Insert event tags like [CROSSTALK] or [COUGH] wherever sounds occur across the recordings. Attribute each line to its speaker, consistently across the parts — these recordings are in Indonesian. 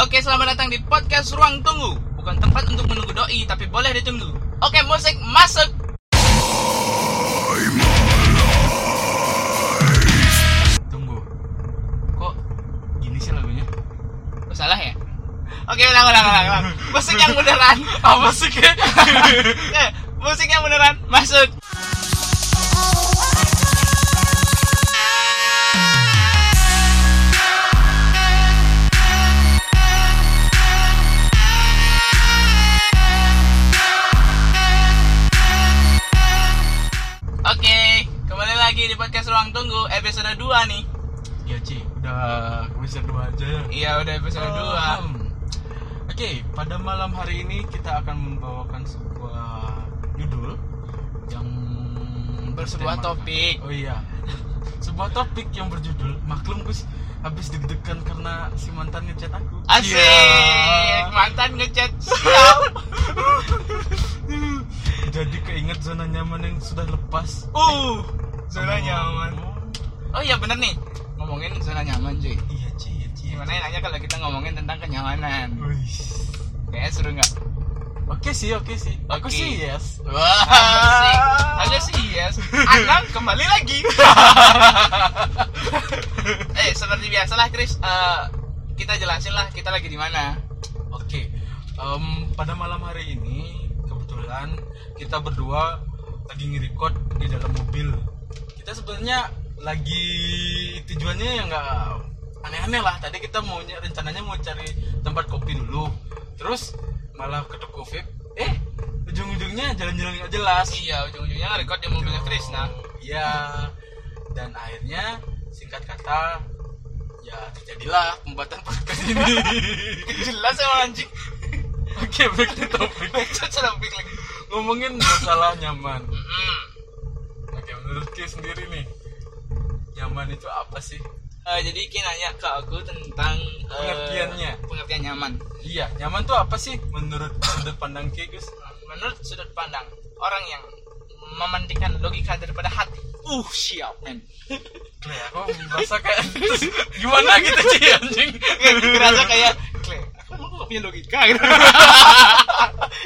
Speaker 1: Oke, selamat datang di podcast Ruang Tunggu. Bukan tempat untuk menunggu doi, tapi boleh ditunggu. Oke, musik masuk. Tunggu. Kok gini sih lagunya? Oh, salah ya? Oke, ulang, ulang, ulang, ulang. Musik yang beneran. Apa [LAUGHS] sih? musik yang beneran. Masuk. Oke, kembali lagi di podcast Ruang Tunggu episode 2 nih.
Speaker 2: Ya Ci, udah kuis dua aja ya
Speaker 1: Iya, udah episode 2.
Speaker 2: Hmm. Oke, pada malam hari ini kita akan membawakan sebuah judul Yang
Speaker 1: Bersebuah
Speaker 2: bertemakan-
Speaker 1: topik.
Speaker 2: Oh iya Sebuah topik yang berjudul Maklum Gus, habis deg-degan karena si mantan ngechat aku
Speaker 1: Asik,
Speaker 2: Iya.
Speaker 1: mantan ngechat siap.
Speaker 2: Jadi keinget zona nyaman yang sudah lepas
Speaker 1: uh, zona
Speaker 2: Oh.
Speaker 1: nyaman. Oh iya bener nih, ngomongin zona nyaman cuy.
Speaker 2: Iya Ci, iya Ci
Speaker 1: Gimana ya? enaknya kalau kita ngomongin tentang kenyamanan?
Speaker 2: Wih.
Speaker 1: Kayaknya seru nggak?
Speaker 2: Oke sih, oke sih
Speaker 1: Oke.
Speaker 2: Aku sih yes
Speaker 1: Wah, asik. Ada sih yes. [LAUGHS] Anang kembali lagi. [LAUGHS] eh seperti biasalah Chris, eh, kita jelasin lah kita lagi di mana.
Speaker 2: Oke, em, pada malam hari ini kebetulan kita berdua lagi ngerekod di dalam mobil. Kita sebenarnya lagi tujuannya ya nggak aneh-aneh lah. Tadi kita mau ny- rencananya mau cari tempat kopi dulu, terus malah ketuk covid. Eh, ujung-ujungnya jalan-jalan nggak jelas.
Speaker 1: Iya ujung-ujungnya record di nah. mobilnya Krisna.
Speaker 2: Iya. Dan akhirnya singkat kata ya terjadilah [LAUGHS] pembuatan podcast
Speaker 1: [LAUGHS]
Speaker 2: ini.
Speaker 1: Jelas emang anjing.
Speaker 2: Oke, back to topic.
Speaker 1: Becot sudah lagi.
Speaker 2: ngomongin masalah nyaman
Speaker 1: Mm.
Speaker 2: oke Ya, menurut Ki sendiri nih nyaman itu apa sih
Speaker 1: Eh, jadi Ki nanya ke aku tentang eh,
Speaker 2: Pengertiannya.
Speaker 1: pengertian nyaman.
Speaker 2: iya nyaman tuh apa sih menurut sudut pandang Ki Gus
Speaker 1: Menurut sudut pandang orang yang mementingkan logika daripada hati. Uh, siap men.
Speaker 2: Kle, aku ya, merasa kayak [LAUGHS] gimana gitu sih anjing
Speaker 1: [LAUGHS] Kayak kerasa kayak Kle,
Speaker 2: [LAUGHS]
Speaker 1: aku mau nggak punya logika gitu.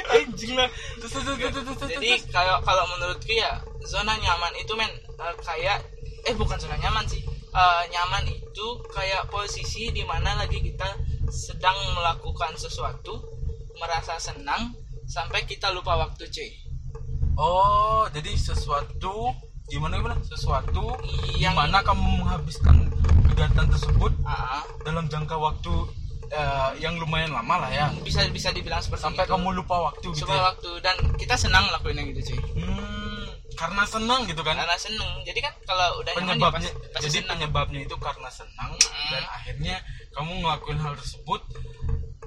Speaker 2: anjing lah terus terus terus terus terus
Speaker 1: jadi kalau kalau menurutku ya zona nyaman itu men eh, kayak eh bukan zona nyaman sih Eh, nyaman itu kayak posisi dimana lagi kita sedang melakukan sesuatu merasa senang sampai kita lupa waktu cuy
Speaker 2: oh jadi sesuatu gimana gimana sesuatu
Speaker 1: yang
Speaker 2: yang mana kamu menghabiskan kegiatan tersebut
Speaker 1: Ah, ah.
Speaker 2: dalam jangka waktu eh, yang lumayan lama lah ya
Speaker 1: bisa bisa dibilang seperti
Speaker 2: sampai
Speaker 1: itu.
Speaker 2: kamu lupa waktu gitu
Speaker 1: Sampai
Speaker 2: ya?
Speaker 1: waktu dan kita senang ngelakuinnya gitu cuy
Speaker 2: Hmm, karena senang gitu kan
Speaker 1: karena seneng jadi kan kalau udah nyaman ya
Speaker 2: penyebabnya
Speaker 1: pasti, pasti
Speaker 2: jadi
Speaker 1: seneng.
Speaker 2: penyebabnya itu karena senang
Speaker 1: Mm.
Speaker 2: dan akhirnya kamu ngelakuin hal tersebut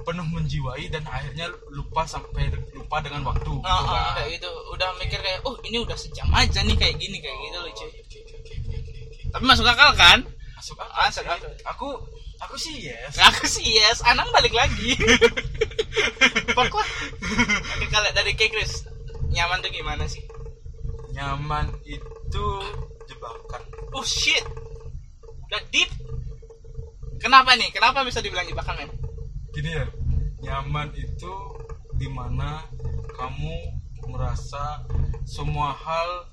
Speaker 2: penuh menjiwai dan akhirnya lupa sampai lupa dengan waktu gitu
Speaker 1: Ah, ah,
Speaker 2: kan.
Speaker 1: kayak gitu udah mikir kayak oh ini udah sejam aja nih kayak gini kayak gitu loh cuy
Speaker 2: Oh, Oke, oke, oke, oke, oke, oke.
Speaker 1: tapi masuk akal kan
Speaker 2: masuk
Speaker 1: Ah,
Speaker 2: akal
Speaker 1: masuk
Speaker 2: sih.
Speaker 1: akal.
Speaker 2: aku aku sih yes
Speaker 1: Aku sih yes, Anang balik [LAUGHS] lagi. Fuck lah. Oke, kalau dari Kay Chris, nyaman tuh gimana sih?
Speaker 2: nyaman itu jebakan
Speaker 1: Oh shit, udah deep. Kenapa nih? Kenapa bisa dibilang jebakan men?
Speaker 2: gini ya nyaman itu dimana kamu merasa semua hal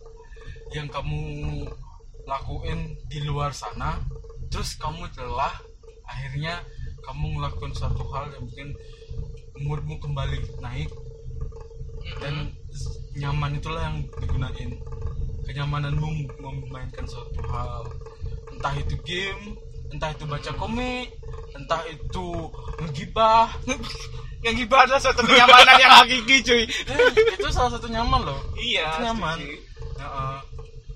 Speaker 2: yang kamu lakuin di luar sana terus kamu telah akhirnya kamu ngelakuin suatu hal yang mungkin umurmu kembali naik
Speaker 1: Dan
Speaker 2: dan s- nyaman itulah yang digunain kenyamananmu mem- memainkan suatu hal entah itu game entah itu baca komik entah itu menggibah
Speaker 1: yang gibah adalah suatu kenyamanan yang hakiki cuy.
Speaker 2: Eh, itu salah satu nyaman loh
Speaker 1: Iya.
Speaker 2: itu nyaman
Speaker 1: setuju.
Speaker 2: Ya, eh,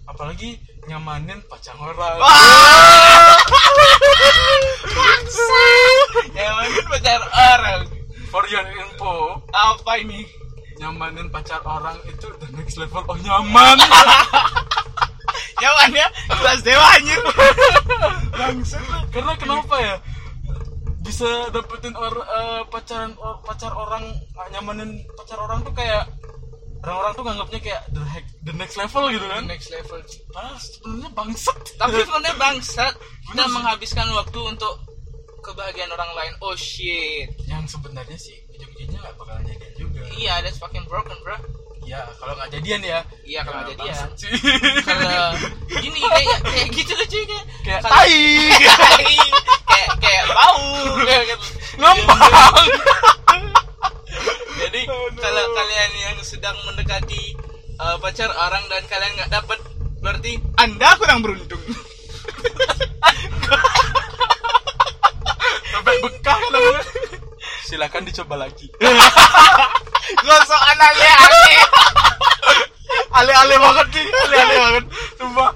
Speaker 2: apalagi nyamanin pacar
Speaker 1: Ah!
Speaker 2: orang
Speaker 1: Wah! Nyamanin pacar kan orang.
Speaker 2: for your info
Speaker 1: Apa ini?
Speaker 2: nyamanin pacar orang itu the next level oh
Speaker 1: [LAUGHS]
Speaker 2: nyaman
Speaker 1: Nyamannya kelas dewa anjir. Langsung lah.
Speaker 2: karena kenapa ya bisa dapetin or, eh, pacaran or- pacar orang eh, nyamanin pacar orang tuh kayak orang-orang tuh nganggapnya kayak the, heck- the next level gitu kan
Speaker 1: Next level cuy.
Speaker 2: padahal sebenarnya bangsat
Speaker 1: tapi sebenarnya bangsat kita
Speaker 2: Bener sih.
Speaker 1: menghabiskan waktu untuk kebahagiaan orang lain oh shit
Speaker 2: yang sebenarnya sih ujung-ujungnya nggak bakalan jadian juga
Speaker 1: iya that's fucking broken bro
Speaker 2: ya kalau nggak jadian ya
Speaker 1: Iya, kalau nggak jadian.
Speaker 2: bangsat sih. [LAUGHS]
Speaker 1: kalau [LAUGHS] gini kayak kayak gitu loh cuy kayak
Speaker 2: kayak
Speaker 1: kalau-
Speaker 2: tai
Speaker 1: [LAUGHS] kayak kayak bau kayak gitu. [LAUGHS]
Speaker 2: ngembang [LAUGHS]
Speaker 1: jadi
Speaker 2: Aduh.
Speaker 1: kalau kalian yang sedang mendekati uh, pacar orang dan kalian nggak dapat berarti
Speaker 2: anda kurang beruntung sampai bekah kan namanya. silakan dicoba [LAUGHS] lagi
Speaker 1: gosok anaknya aneh
Speaker 2: ale-ale banget sih ale-ale banget sumpah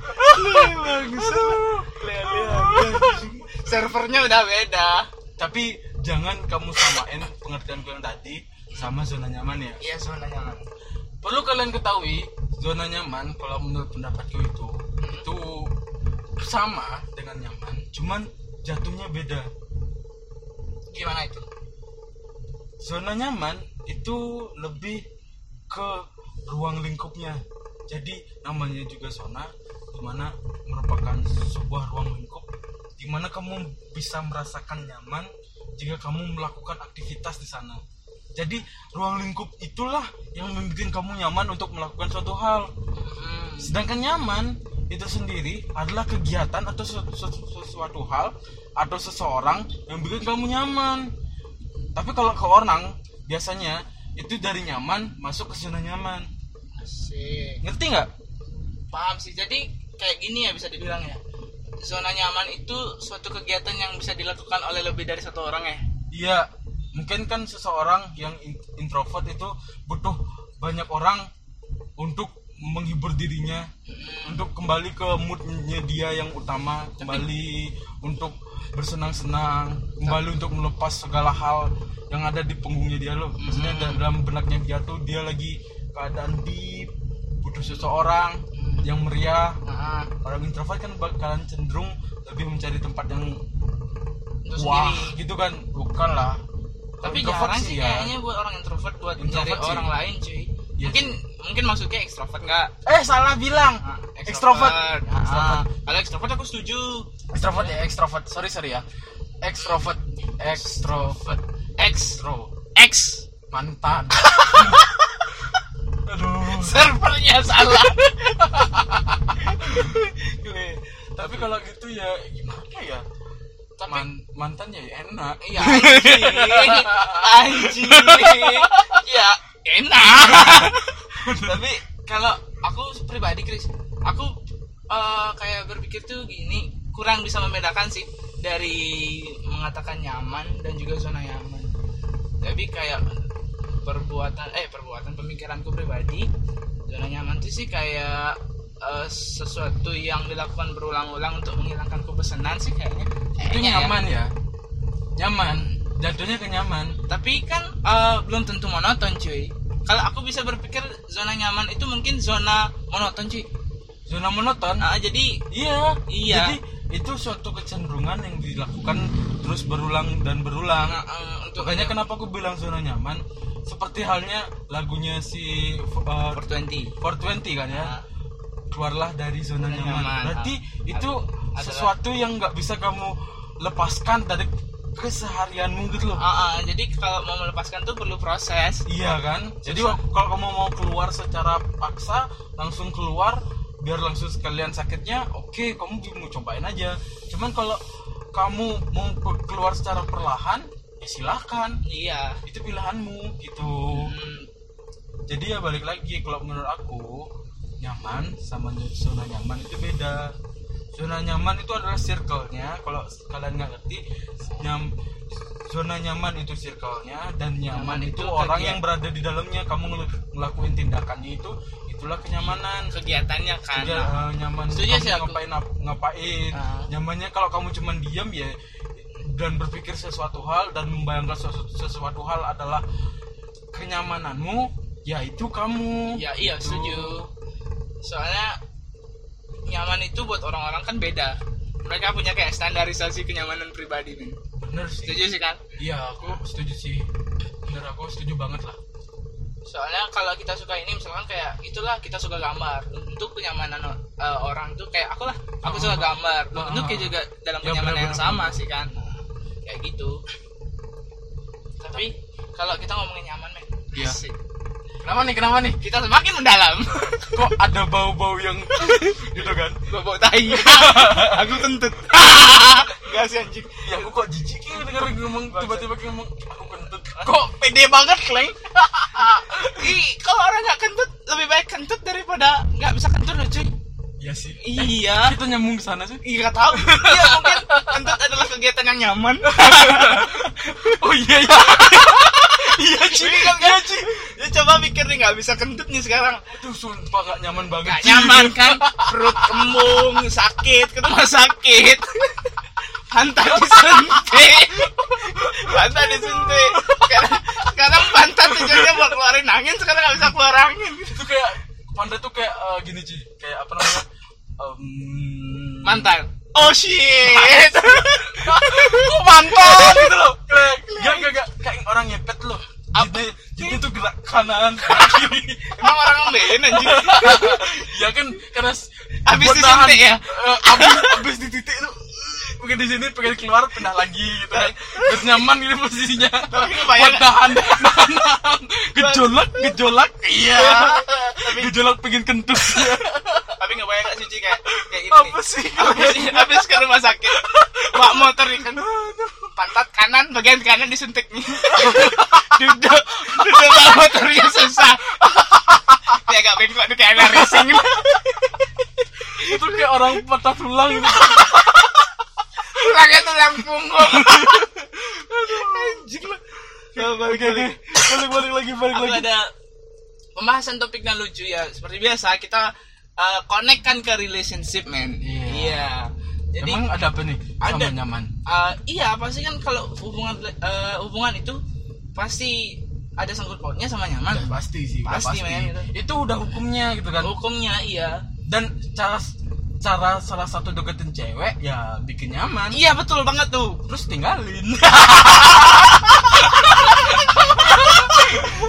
Speaker 1: servernya udah beda
Speaker 2: tapi jangan kamu samain pengertian kalian tadi sama zona nyaman ya
Speaker 1: iya zona nyaman
Speaker 2: perlu kalian ketahui zona nyaman kalau menurut pendapatku itu
Speaker 1: Mhm.
Speaker 2: itu sama dengan nyaman cuman jatuhnya beda
Speaker 1: gimana itu
Speaker 2: zona nyaman itu lebih ke ruang lingkupnya jadi namanya juga zona dimana merupakan sebuah ruang lingkup dimana kamu bisa merasakan nyaman jika kamu melakukan aktivitas di sana jadi ruang lingkup itulah yang membuat kamu nyaman untuk melakukan suatu hal
Speaker 1: Hmm,
Speaker 2: Sedangkan nyaman itu sendiri adalah kegiatan atau sesu- sesu- sesuatu hal atau seseorang yang bikin kamu nyaman. Tapi kalau ke orang biasanya itu dari nyaman masuk ke zona nyaman.
Speaker 1: asik.
Speaker 2: Ngerti nggak?
Speaker 1: paham sih jadi kayak gini ya bisa dibilang ya zona nyaman itu suatu kegiatan yang bisa dilakukan oleh lebih dari satu orang ya
Speaker 2: Iya, mungkin kan seseorang yang in- introvert itu butuh banyak orang untuk menghibur dirinya untuk kembali ke moodnya dia yang utama kembali untuk bersenang-senang kembali untuk melepas segala hal yang ada di punggungnya dia loh maksudnya da- dalam benaknya dia tuh dia lagi keadaan deep butuh seseorang yang meriah
Speaker 1: Nah,
Speaker 2: orang introvert kan bakalan cenderung lebih mencari tempat yang
Speaker 1: untuk
Speaker 2: wah
Speaker 1: sendiri.
Speaker 2: gitu kan bukan lah
Speaker 1: tapi
Speaker 2: Introvert
Speaker 1: jarang sih
Speaker 2: ya.
Speaker 1: kayaknya buat orang introvert buat mencari
Speaker 2: Introvert sih.
Speaker 1: orang lain cuy
Speaker 2: Iya
Speaker 1: mungkin mungkin maksudnya ekstrovert nggak
Speaker 2: eh salah bilang
Speaker 1: Ah,
Speaker 2: ekstrovert
Speaker 1: Ah,
Speaker 2: Extrovert.
Speaker 1: kalau ekstrovert aku setuju
Speaker 2: Extrovert ya, extrovert. Sorry, sorry ya. Extrovert, extrovert,
Speaker 1: X
Speaker 2: extro,
Speaker 1: X
Speaker 2: mantan. Aduh.
Speaker 1: [LAUGHS] servernya salah
Speaker 2: Gile. Iya. Tapi kalau gitu ya gimana ya?
Speaker 1: Tapi-
Speaker 2: Man- mantan ya enak.
Speaker 1: iya anjing anjing ya enak tapi kalau aku pribadi Chris aku eh, kayak berpikir tuh gini kurang bisa membedakan sih dari mengatakan nyaman dan juga zona nyaman tapi kayak perbuatan eh perbuatan pemikiranku pribadi zona nyaman tuh sih kayak eh, sesuatu yang dilakukan berulang-ulang untuk menghilangkan kebesanan sih kayaknya
Speaker 2: Itu
Speaker 1: Kayaknya ya.
Speaker 2: nyaman ya. Nyaman. Jatuhnya ke nyaman.
Speaker 1: tapi kan eh, belum tentu monoton cuy kalau aku bisa berpikir zona nyaman itu mungkin zona monoton cuy
Speaker 2: Zona monoton.
Speaker 1: Ah, jadi
Speaker 2: Iya.
Speaker 1: Iya.
Speaker 2: Jadi itu suatu kecenderungan yang dilakukan terus berulang dan berulang.
Speaker 1: eh, eh, untuk
Speaker 2: Makanya kenapa aku bilang zona nyaman seperti halnya lagunya si uh,
Speaker 1: over 20
Speaker 2: 420 kan ya.
Speaker 1: Ah.
Speaker 2: Keluarlah dari zona
Speaker 1: Zona
Speaker 2: nyaman.
Speaker 1: nyaman.
Speaker 2: Berarti
Speaker 1: Ah.
Speaker 2: itu
Speaker 1: Adalah-
Speaker 2: sesuatu yang nggak bisa kamu lepaskan dari keseharianmu gitu loh.
Speaker 1: Ah, ah, jadi kalau mau melepaskan tuh perlu proses
Speaker 2: Iya kan? Jadi wak- kalau kamu mau keluar secara paksa langsung keluar biar langsung sekalian sakitnya, oke kamu bi- mau cobain aja. Cuman kalau kamu mau pe- keluar secara perlahan, ya silahkan
Speaker 1: iya
Speaker 2: itu pilihanmu gitu
Speaker 1: Hmm,
Speaker 2: jadi ya balik lagi kalau menurut aku nyaman sama zona nyaman itu beda zona nyaman itu adalah circle-nya kalau kalian nggak ngerti nyam zona nyaman itu circle-nya dan nyaman,
Speaker 1: Nyaman
Speaker 2: itu,
Speaker 1: itu
Speaker 2: orang
Speaker 1: kegiatan-
Speaker 2: yang berada di dalamnya kamu ngel- ngelakuin tindakannya itu itulah kenyamanan
Speaker 1: kegiatannya kan
Speaker 2: Kerja, eh, nyaman
Speaker 1: Setuju
Speaker 2: kamu
Speaker 1: sih aku.
Speaker 2: ngapain ap- ngapain
Speaker 1: Ah.
Speaker 2: nyamannya kalau kamu cuman diam ya dan berpikir sesuatu hal dan membayangkan sesuatu, sesuatu hal adalah kenyamananmu ya itu kamu
Speaker 1: ya iya
Speaker 2: Gitu.
Speaker 1: setuju soalnya nyaman itu buat orang-orang kan beda mereka punya kayak standarisasi kenyamanan pribadi nih
Speaker 2: bener sih
Speaker 1: setuju sih kan
Speaker 2: iya aku setuju sih bener aku setuju banget lah
Speaker 1: soalnya kalau kita suka ini misalkan kayak itulah kita suka gambar untuk kenyamanan eh, orang tuh kayak aku lah aku suka gambar
Speaker 2: Ah.
Speaker 1: untuk juga dalam
Speaker 2: Ya,
Speaker 1: kenyamanan yang
Speaker 2: benar-benar.
Speaker 1: sama sih kan kayak gitu tapi kalau kita ngomongin nyaman men
Speaker 2: Iya.
Speaker 1: asik.
Speaker 2: Kenapa nih? Kenapa nih?
Speaker 1: kita semakin
Speaker 2: [LAUGHS]
Speaker 1: mendalam
Speaker 2: Kok ada bau-bau yang [LAUGHS] gitu kan?
Speaker 1: bobok tai
Speaker 2: [LAUGHS] aku
Speaker 1: [LAUGHS]
Speaker 2: kentut. Enggak sih anjing. Ya aku kok jijik ya denger ngomong tiba-tiba kayak ngomong aku kentut.
Speaker 1: kok pede banget kleng [LAUGHS] Ih, kalau orang nggak kentut lebih baik kentut daripada nggak bisa kentut loh cuy
Speaker 2: Iya sih.
Speaker 1: [LAUGHS] iya
Speaker 2: Kita nyambung ke sana sih.
Speaker 1: iya nggak tahu iya mungkin kentut adalah kegiatan yang [LAUGHS] nyaman
Speaker 2: Oh iya iya. [LAUGHS] iya
Speaker 1: cuy
Speaker 2: Ci.
Speaker 1: kan nggak cuy ya coba mikir nih nggak bisa kentut nih sekarang
Speaker 2: Aduh sumpah gak nyaman banget.
Speaker 1: nggak
Speaker 2: Ci.
Speaker 1: nyaman kan perut kembung sakit ke rumah sakit pantat disuntik pantat disuntik sekarang sekarang pantat tujuannya buat keluarin angin sekarang nggak bisa keluar angin
Speaker 2: Itu kayak pantai tuh kayak eh, gini Ci. Kayak apa namanya? Em,
Speaker 1: mantan oh shit
Speaker 2: Kok mantan gitu loh. Kayak gak gak gak kayak orang ngepet loh.
Speaker 1: Apa?
Speaker 2: Jadi, jadi tuh gerak kanan gerak kiri. [LAUGHS]
Speaker 1: emang orang ngebein anjing
Speaker 2: ya kan karena s-
Speaker 1: Habis
Speaker 2: buat
Speaker 1: disuntik ya?
Speaker 2: nahan, eh, habis habis di titik itu mungkin di sini pengen keluar pindah lagi gitu kan terus nyaman gitu posisinya
Speaker 1: Tapi kebayang-
Speaker 2: buat nahan nahan nahan. gejolak gejolak iya
Speaker 1: tapi
Speaker 2: gejolak pengen kentut
Speaker 1: tapi nggak bayang nggak suci kayak kayak ini
Speaker 2: apa
Speaker 1: nih.
Speaker 2: sih
Speaker 1: habis habis ke rumah sakit bawa motor nih kan pantat kanan bagian kanan disuntik nih duduk duduk bawa motornya susah dia agak bengkok nih kayak anak racing
Speaker 2: itu kayak orang patah tulang gitu
Speaker 1: tulangnya tulang punggung anjir lah Ya,
Speaker 2: oke oke balik balik lagi balik
Speaker 1: Aku
Speaker 2: lagi
Speaker 1: ada pembahasan topik yang lucu ya. Seperti biasa kita uh, connect kan ke relationship man.
Speaker 2: Iya.
Speaker 1: Jadi
Speaker 2: emang ada apa nih
Speaker 1: Ada.
Speaker 2: sama nyaman
Speaker 1: uh, iya pasti kan kalau hubungan uh, hubungan itu pasti ada sangkut pautnya sama nyaman.
Speaker 2: Udah pasti sih udah
Speaker 1: Pasti, men. gitu.
Speaker 2: itu udah hukumnya gitu kan
Speaker 1: Hukumnya iya.
Speaker 2: dan cara cara salah satu deketin cewek ya bikin nyaman
Speaker 1: Iya betul banget tuh.
Speaker 2: terus tinggalin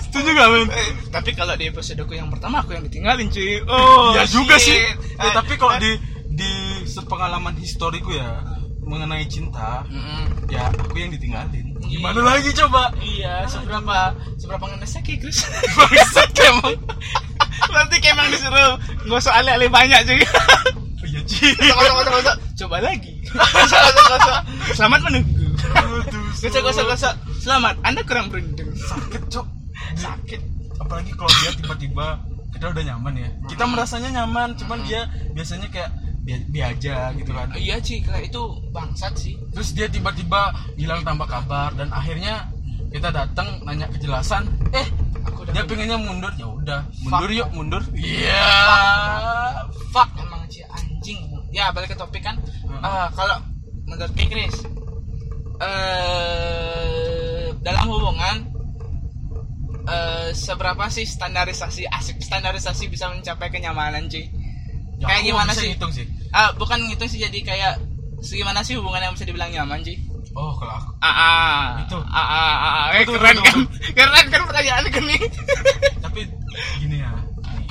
Speaker 2: setuju gak men
Speaker 1: Eh, tapi kalau di episodeku yang pertama aku yang ditinggalin cuy. Oh.
Speaker 2: ya juga
Speaker 1: shit.
Speaker 2: sih ya,
Speaker 1: Ah,
Speaker 2: tapi kalau
Speaker 1: ah,
Speaker 2: di di sepengalaman historiku ya mengenai cinta
Speaker 1: mm-mm.
Speaker 2: ya aku yang ditinggalin
Speaker 1: Iya.
Speaker 2: gimana lagi coba
Speaker 1: Iya, seberapa seberapa ngenesnya kayak Chris?
Speaker 2: [LAUGHS] bangsat emang
Speaker 1: Berarti kayak emang disuruh gosok alih-alih banyak cuy.
Speaker 2: Oh, iya Ci.
Speaker 1: Gosok, gosok, gosok. Coba
Speaker 2: [LAUGHS]
Speaker 1: lagi. Gosok, gosok, gosok. Selamat menunggu.
Speaker 2: Aduh,
Speaker 1: Gosok, gosok, gosok. Selamat. Anda kurang beruntung.
Speaker 2: sakit cok sakit apalagi kalau dia tiba-tiba kita udah nyaman ya kita merasanya nyaman cuman dia biasanya kayak dia, dia aja gitu kan
Speaker 1: Iya sih, itu bangsat sih.
Speaker 2: terus dia tiba-tiba hilang tanpa kabar dan akhirnya kita datang nanya kejelasan eh
Speaker 1: Aku udah
Speaker 2: dia pengennya mundur ya udah
Speaker 1: Fuck.
Speaker 2: mundur yuk mundur iya
Speaker 1: fuck emang sih anjing. Ya balik ke topik kan.
Speaker 2: Mm-mm.
Speaker 1: Ah, kalau menurut Kak Chris, eh dalam hubungan eh seberapa sih standarisasi asik standarisasi bisa mencapai kenyamanan cuy?
Speaker 2: Ya,
Speaker 1: Kayak
Speaker 2: aku
Speaker 1: gimana
Speaker 2: bisa
Speaker 1: sih?
Speaker 2: hitung sih
Speaker 1: Ah, bukan gitu sih jadi kayak segimana sih hubungan yang bisa dibilang nyaman Ah, cuy?
Speaker 2: oh kalau aku
Speaker 1: Aa,
Speaker 2: Itu.
Speaker 1: Aa, Aa, Aa. Eh,
Speaker 2: Itu,
Speaker 1: keren
Speaker 2: itu,
Speaker 1: kan? [LAUGHS] Keren kan pertanyaan gini.
Speaker 2: tapi gini ya nih.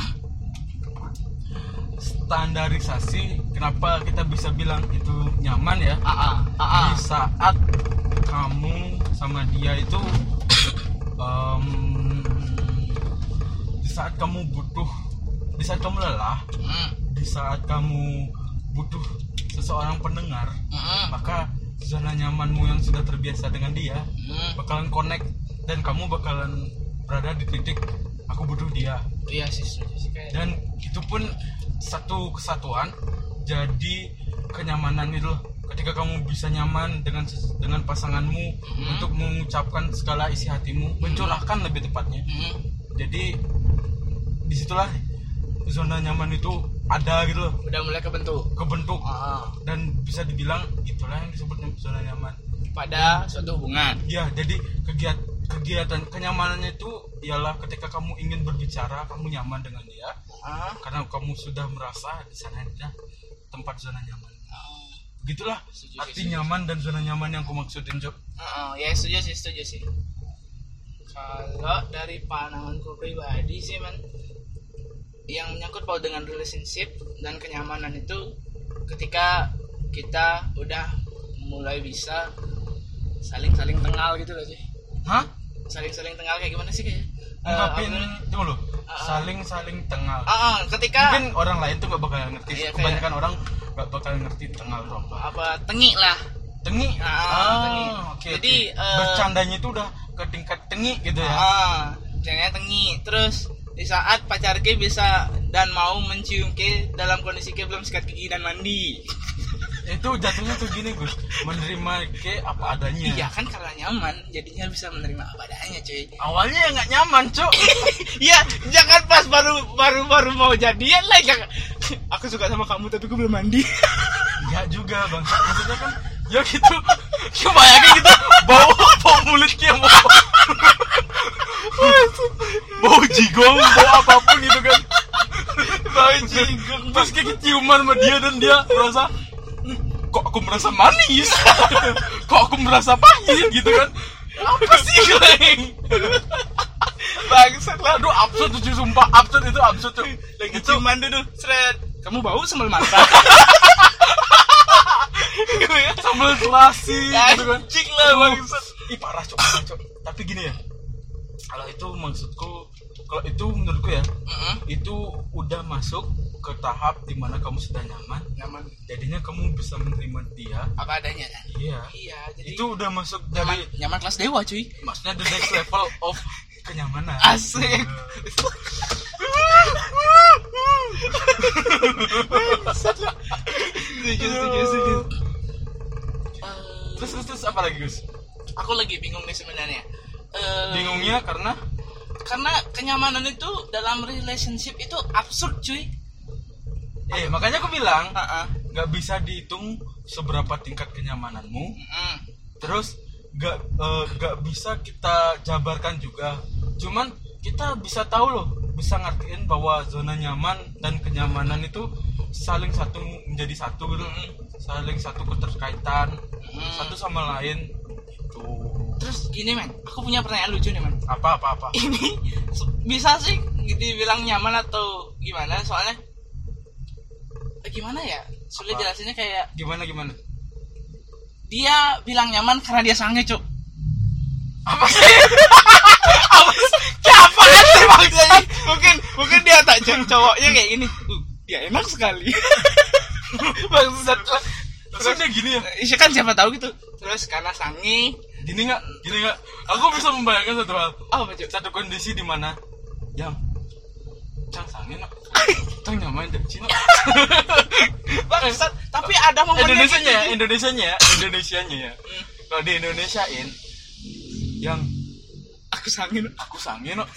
Speaker 2: standarisasi kenapa kita bisa bilang itu nyaman ya
Speaker 1: Aa, Aa. Ah,
Speaker 2: di saat kamu sama dia itu em, di saat kamu butuh di saat kamu lelah
Speaker 1: Mm,
Speaker 2: di saat kamu butuh seseorang pendengar
Speaker 1: mm,
Speaker 2: maka zona nyamanmu yang sudah terbiasa dengan dia
Speaker 1: mm.
Speaker 2: bakalan connect dan kamu bakalan berada di titik aku butuh dia
Speaker 1: Iya sih, setuju sih kayak.
Speaker 2: dan itu pun satu kesatuan jadi kenyamanan itu loh ketika kamu bisa nyaman dengan ses- dengan pasanganmu untuk mengucapkan segala isi hatimu mencurahkan lebih tepatnya
Speaker 1: Mm.
Speaker 2: Hmm. jadi disitulah zona nyaman itu ada gitu loh
Speaker 1: Udah mulai kebentuk.
Speaker 2: kebentuk
Speaker 1: Aa.
Speaker 2: dan bisa dibilang itulah yang disebut zona nyaman
Speaker 1: Pada suatu hubungan.
Speaker 2: ya jadi kegiatan kegiatan kenyamanannya itu ialah ketika kamu ingin berbicara kamu nyaman dengan dia
Speaker 1: Aa.
Speaker 2: karena kamu sudah merasa di sana adalah tempat zona nyaman begitulah
Speaker 1: Setuju,
Speaker 2: arti
Speaker 1: setuju.
Speaker 2: nyaman dan zona nyaman yang aku maksudin Jok.
Speaker 1: Aa, ya setuju sih, setuju sih. Kalau dari pandanganku pribadi sih, man, yang menyangkut paut dengan relationship dan kenyamanan itu ketika kita udah mulai bisa saling-saling tengal gitu loh sih
Speaker 2: Hah?
Speaker 1: saling-saling tengal kayak gimana sih kayak Eh,
Speaker 2: Ungkapin
Speaker 1: apa namanya?
Speaker 2: dulu.
Speaker 1: Ah.
Speaker 2: Saling-saling tengal.
Speaker 1: Ah, ah, ketika
Speaker 2: Mungkin orang lain tuh gak bakal ngerti.
Speaker 1: Iya, kayak-
Speaker 2: Kebanyakan orang gak bakal ngerti tengal tuh apa.
Speaker 1: apa tengi lah
Speaker 2: Tengi.
Speaker 1: Ah, tengi.
Speaker 2: oke,
Speaker 1: Jadi,
Speaker 2: oke.
Speaker 1: eh,
Speaker 2: bercandanya itu udah ke tingkat tengi gitu ya.
Speaker 1: Ah, jangan tengi. Terus di saat pacar K bisa dan mau mencium K dalam kondisi K belum sikat gigi dan mandi.
Speaker 2: Itu jatuhnya tuh gini, Gus. Menerima ke apa adanya.
Speaker 1: Iya kan karena nyaman, jadinya bisa menerima apa adanya, cuy.
Speaker 2: Awalnya ya nggak nyaman, Cuk.
Speaker 1: [LAUGHS]
Speaker 2: [LAUGHS]
Speaker 1: Iya, jangan pas baru baru baru mau jadian lah jangan. Aku suka sama kamu tapi aku belum mandi. [LAUGHS]
Speaker 2: Iya juga, Bang. Maksudnya kan ya gitu. Kebayangin gitu bau bau mulut kayak bau. bau jigong, bau apapun gitu kan. Bau jigong. Terus kayak keciuman sama dia dan dia merasa kok aku merasa manis. kok aku merasa pahit gitu kan. Apa sih, Leng?
Speaker 1: Bangsat lah.
Speaker 2: Aduh, absurd tuh cuy, sumpah. Absurd itu absurd tuh.
Speaker 1: Lagi
Speaker 2: Itu-
Speaker 1: ciuman dulu, seret. Kamu bau sambal [LAUGHS] mata. Iya.
Speaker 2: sambal terasi gitu kan
Speaker 1: Ya, Anjing lah, bangsat.
Speaker 2: Ih parah cok, parah, Cok. Tapi gini ya Kalau itu maksudku Kalau itu menurutku ya
Speaker 1: Mm-mm.
Speaker 2: Itu udah masuk ke tahap dimana kamu sudah nyaman
Speaker 1: Nyaman.
Speaker 2: Jadinya kamu bisa menerima dia
Speaker 1: Apa adanya kan?
Speaker 2: Iya
Speaker 1: Iya, jadi
Speaker 2: Itu udah masuk
Speaker 1: nyaman,
Speaker 2: dari
Speaker 1: nyaman kelas dewa, cuy.
Speaker 2: Maksudnya the next level of kenyamanan Iya.
Speaker 1: Asik. setuju, setuju, setuju.
Speaker 2: Terus terus terus apa lagi Gus?
Speaker 1: aku lagi bingung nih sebenarnya. Eh,
Speaker 2: Bingungnya karena
Speaker 1: Karena kenyamanan itu dalam relationship itu absurd, cuy.
Speaker 2: Eh makanya aku bilang
Speaker 1: Heeh.
Speaker 2: nggak bisa dihitung seberapa tingkat kenyamananmu
Speaker 1: Mm.
Speaker 2: terus gak nggak bisa kita jabarkan juga cuman kita bisa tahu loh bisa ngertiin bahwa zona nyaman dan kenyamanan itu saling satu menjadi satu gitu saling satu keterkaitan
Speaker 1: Mm.
Speaker 2: satu sama lain itu
Speaker 1: Terus gini, men. Aku punya pertanyaan lucu nih, men. [LAUGHS]
Speaker 2: apa apa apa
Speaker 1: ini se- bisa sih dibilang nyaman atau gimana soalnya eh, gimana ya sulit
Speaker 2: Apa?
Speaker 1: jelasinnya kayak
Speaker 2: gimana gimana
Speaker 1: dia bilang nyaman karena dia sange cuk
Speaker 2: apa sih
Speaker 1: [LAUGHS] siapa sih maksudnya mungkin mungkin dia tak cowok cowoknya kayak gini "Uh, dia enak sekali [LAUGHS] maksud
Speaker 2: terus udah gini ya
Speaker 1: Iya kan siapa tahu gitu terus karena sange
Speaker 2: gini nggak gini nggak aku bisa membayangkan satu hal
Speaker 1: apa Oh, cuk
Speaker 2: satu kondisi di mana yang cang sangen nak. cang nyamain dari Cina
Speaker 1: Bangsat, tapi ada momennya
Speaker 2: Indonesia
Speaker 1: gitu,
Speaker 2: nya
Speaker 1: Cuk.
Speaker 2: Indonesia nya Indonesia nya ya
Speaker 1: Hmm,
Speaker 2: kalau di Indonesiain yang
Speaker 1: aku sange Nuk.
Speaker 2: aku sangen nak.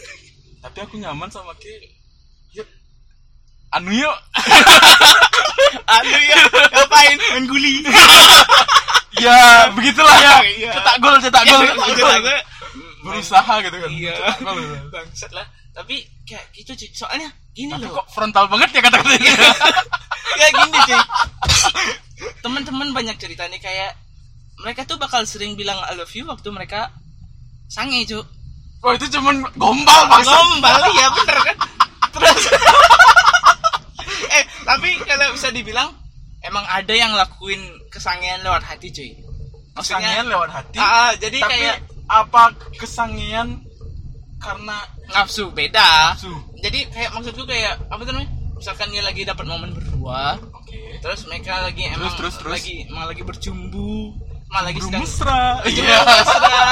Speaker 2: tapi aku nyaman sama ki yuk anu yuk
Speaker 1: aduh ya ngapain main guli
Speaker 2: [LAUGHS] ya begitulah
Speaker 1: Iya,
Speaker 2: ya,
Speaker 1: iya.
Speaker 2: cetak gol cetak gol
Speaker 1: [LAUGHS] Iya,
Speaker 2: cetak
Speaker 1: cetak
Speaker 2: gol
Speaker 1: gol.
Speaker 2: berusaha gitu kan
Speaker 1: Iya.
Speaker 2: cetak gol gitu.
Speaker 1: bangsat lah tapi kayak gitu cuy soalnya gini
Speaker 2: tapi
Speaker 1: loh
Speaker 2: kok frontal banget ya kata-kata
Speaker 1: [LAUGHS]
Speaker 2: ini
Speaker 1: kayak gini [LAUGHS] cuy teman-teman banyak cerita nih kayak mereka tuh bakal sering bilang I love you waktu mereka sange cuy
Speaker 2: wah itu cuman gombal bangsa
Speaker 1: gombal ya bener kan terus [LAUGHS] eh tapi kalau bisa dibilang emang ada yang lakuin kesangean lewat hati cuy
Speaker 2: sangen
Speaker 1: maksudnya
Speaker 2: lewat hati
Speaker 1: ah, ah, jadi
Speaker 2: tapi
Speaker 1: kayak
Speaker 2: apa kesangian karena
Speaker 1: nafsu beda
Speaker 2: su
Speaker 1: jadi kayak maksudku kayak apa tuh namanya misalkan dia lagi dapat momen berdua
Speaker 2: oke
Speaker 1: terus mereka lagi emang
Speaker 2: terus, terus.
Speaker 1: lagi emang lagi bercumbu malah lagi sedang
Speaker 2: mesra
Speaker 1: Iya.
Speaker 2: iya
Speaker 1: mesra.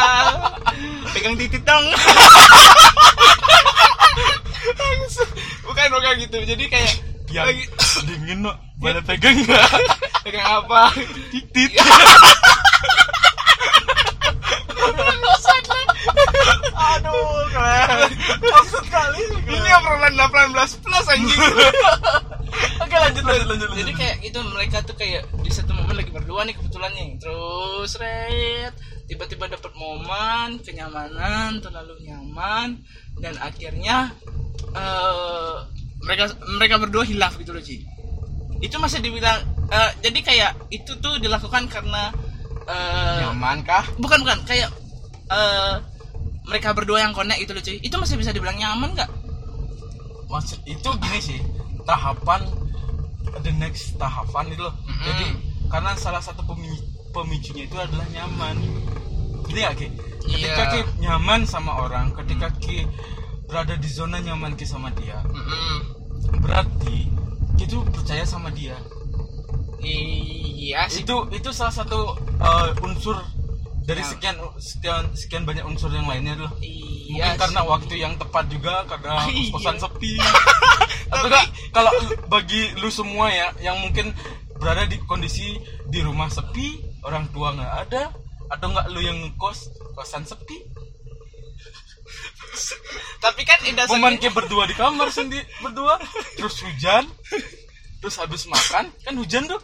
Speaker 1: pegang titik dong bukan bukan gitu jadi kayak
Speaker 2: yang
Speaker 1: lagi
Speaker 2: [COUGHS] dingin no boleh pegang nggak
Speaker 1: pegang apa
Speaker 2: titit aduh keren maksud kali
Speaker 1: ini obrolan 18 plus anjing
Speaker 2: oke lanjut lanjut lanjut
Speaker 1: jadi kayak gitu mereka tuh kayak di satu momen lagi berdua nih kebetulan nih terus red tiba-tiba dapat momen kenyamanan terlalu nyaman dan akhirnya eh mereka mereka berdua hilaf gitu loh Ji itu masih dibilang eh, jadi kayak itu tuh dilakukan karena eh,
Speaker 2: nyaman kah
Speaker 1: bukan bukan kayak eh mereka berdua yang connect gitu loh cuy itu masih bisa dibilang nyaman nggak
Speaker 2: maksud itu gini sih tahapan the next tahapan itu loh
Speaker 1: Mm-mm.
Speaker 2: jadi karena salah satu pemi- pemicunya itu adalah nyaman Jadi nggak, Ki? Ketika
Speaker 1: Iya. Mm.
Speaker 2: Ki nyaman sama orang, ketika Ki berada di zona nyaman Ki sama dia,
Speaker 1: Mm-mm.
Speaker 2: berarti Ki tuh percaya sama dia.
Speaker 1: iya sih
Speaker 2: Itu itu salah satu eh, unsur dari
Speaker 1: Ya.
Speaker 2: sekian sekian sekian banyak unsur yang lainnya loh. Mungkin
Speaker 1: iya
Speaker 2: karena
Speaker 1: sih.
Speaker 2: waktu yang tepat juga karena
Speaker 1: [LAUGHS] Iya.
Speaker 2: kosan sepi. Atau enggak kalau lu- bagi lu semua ya yang mungkin berada di kondisi di rumah sepi, orang tua nggak ada atau enggak lu yang ngekos kosan sepi
Speaker 1: tapi kan Ida
Speaker 2: momen
Speaker 1: sendiri
Speaker 2: kayak berdua di
Speaker 1: [LAUGHS]
Speaker 2: kamar sendiri berdua terus hujan terus habis makan kan hujan tuh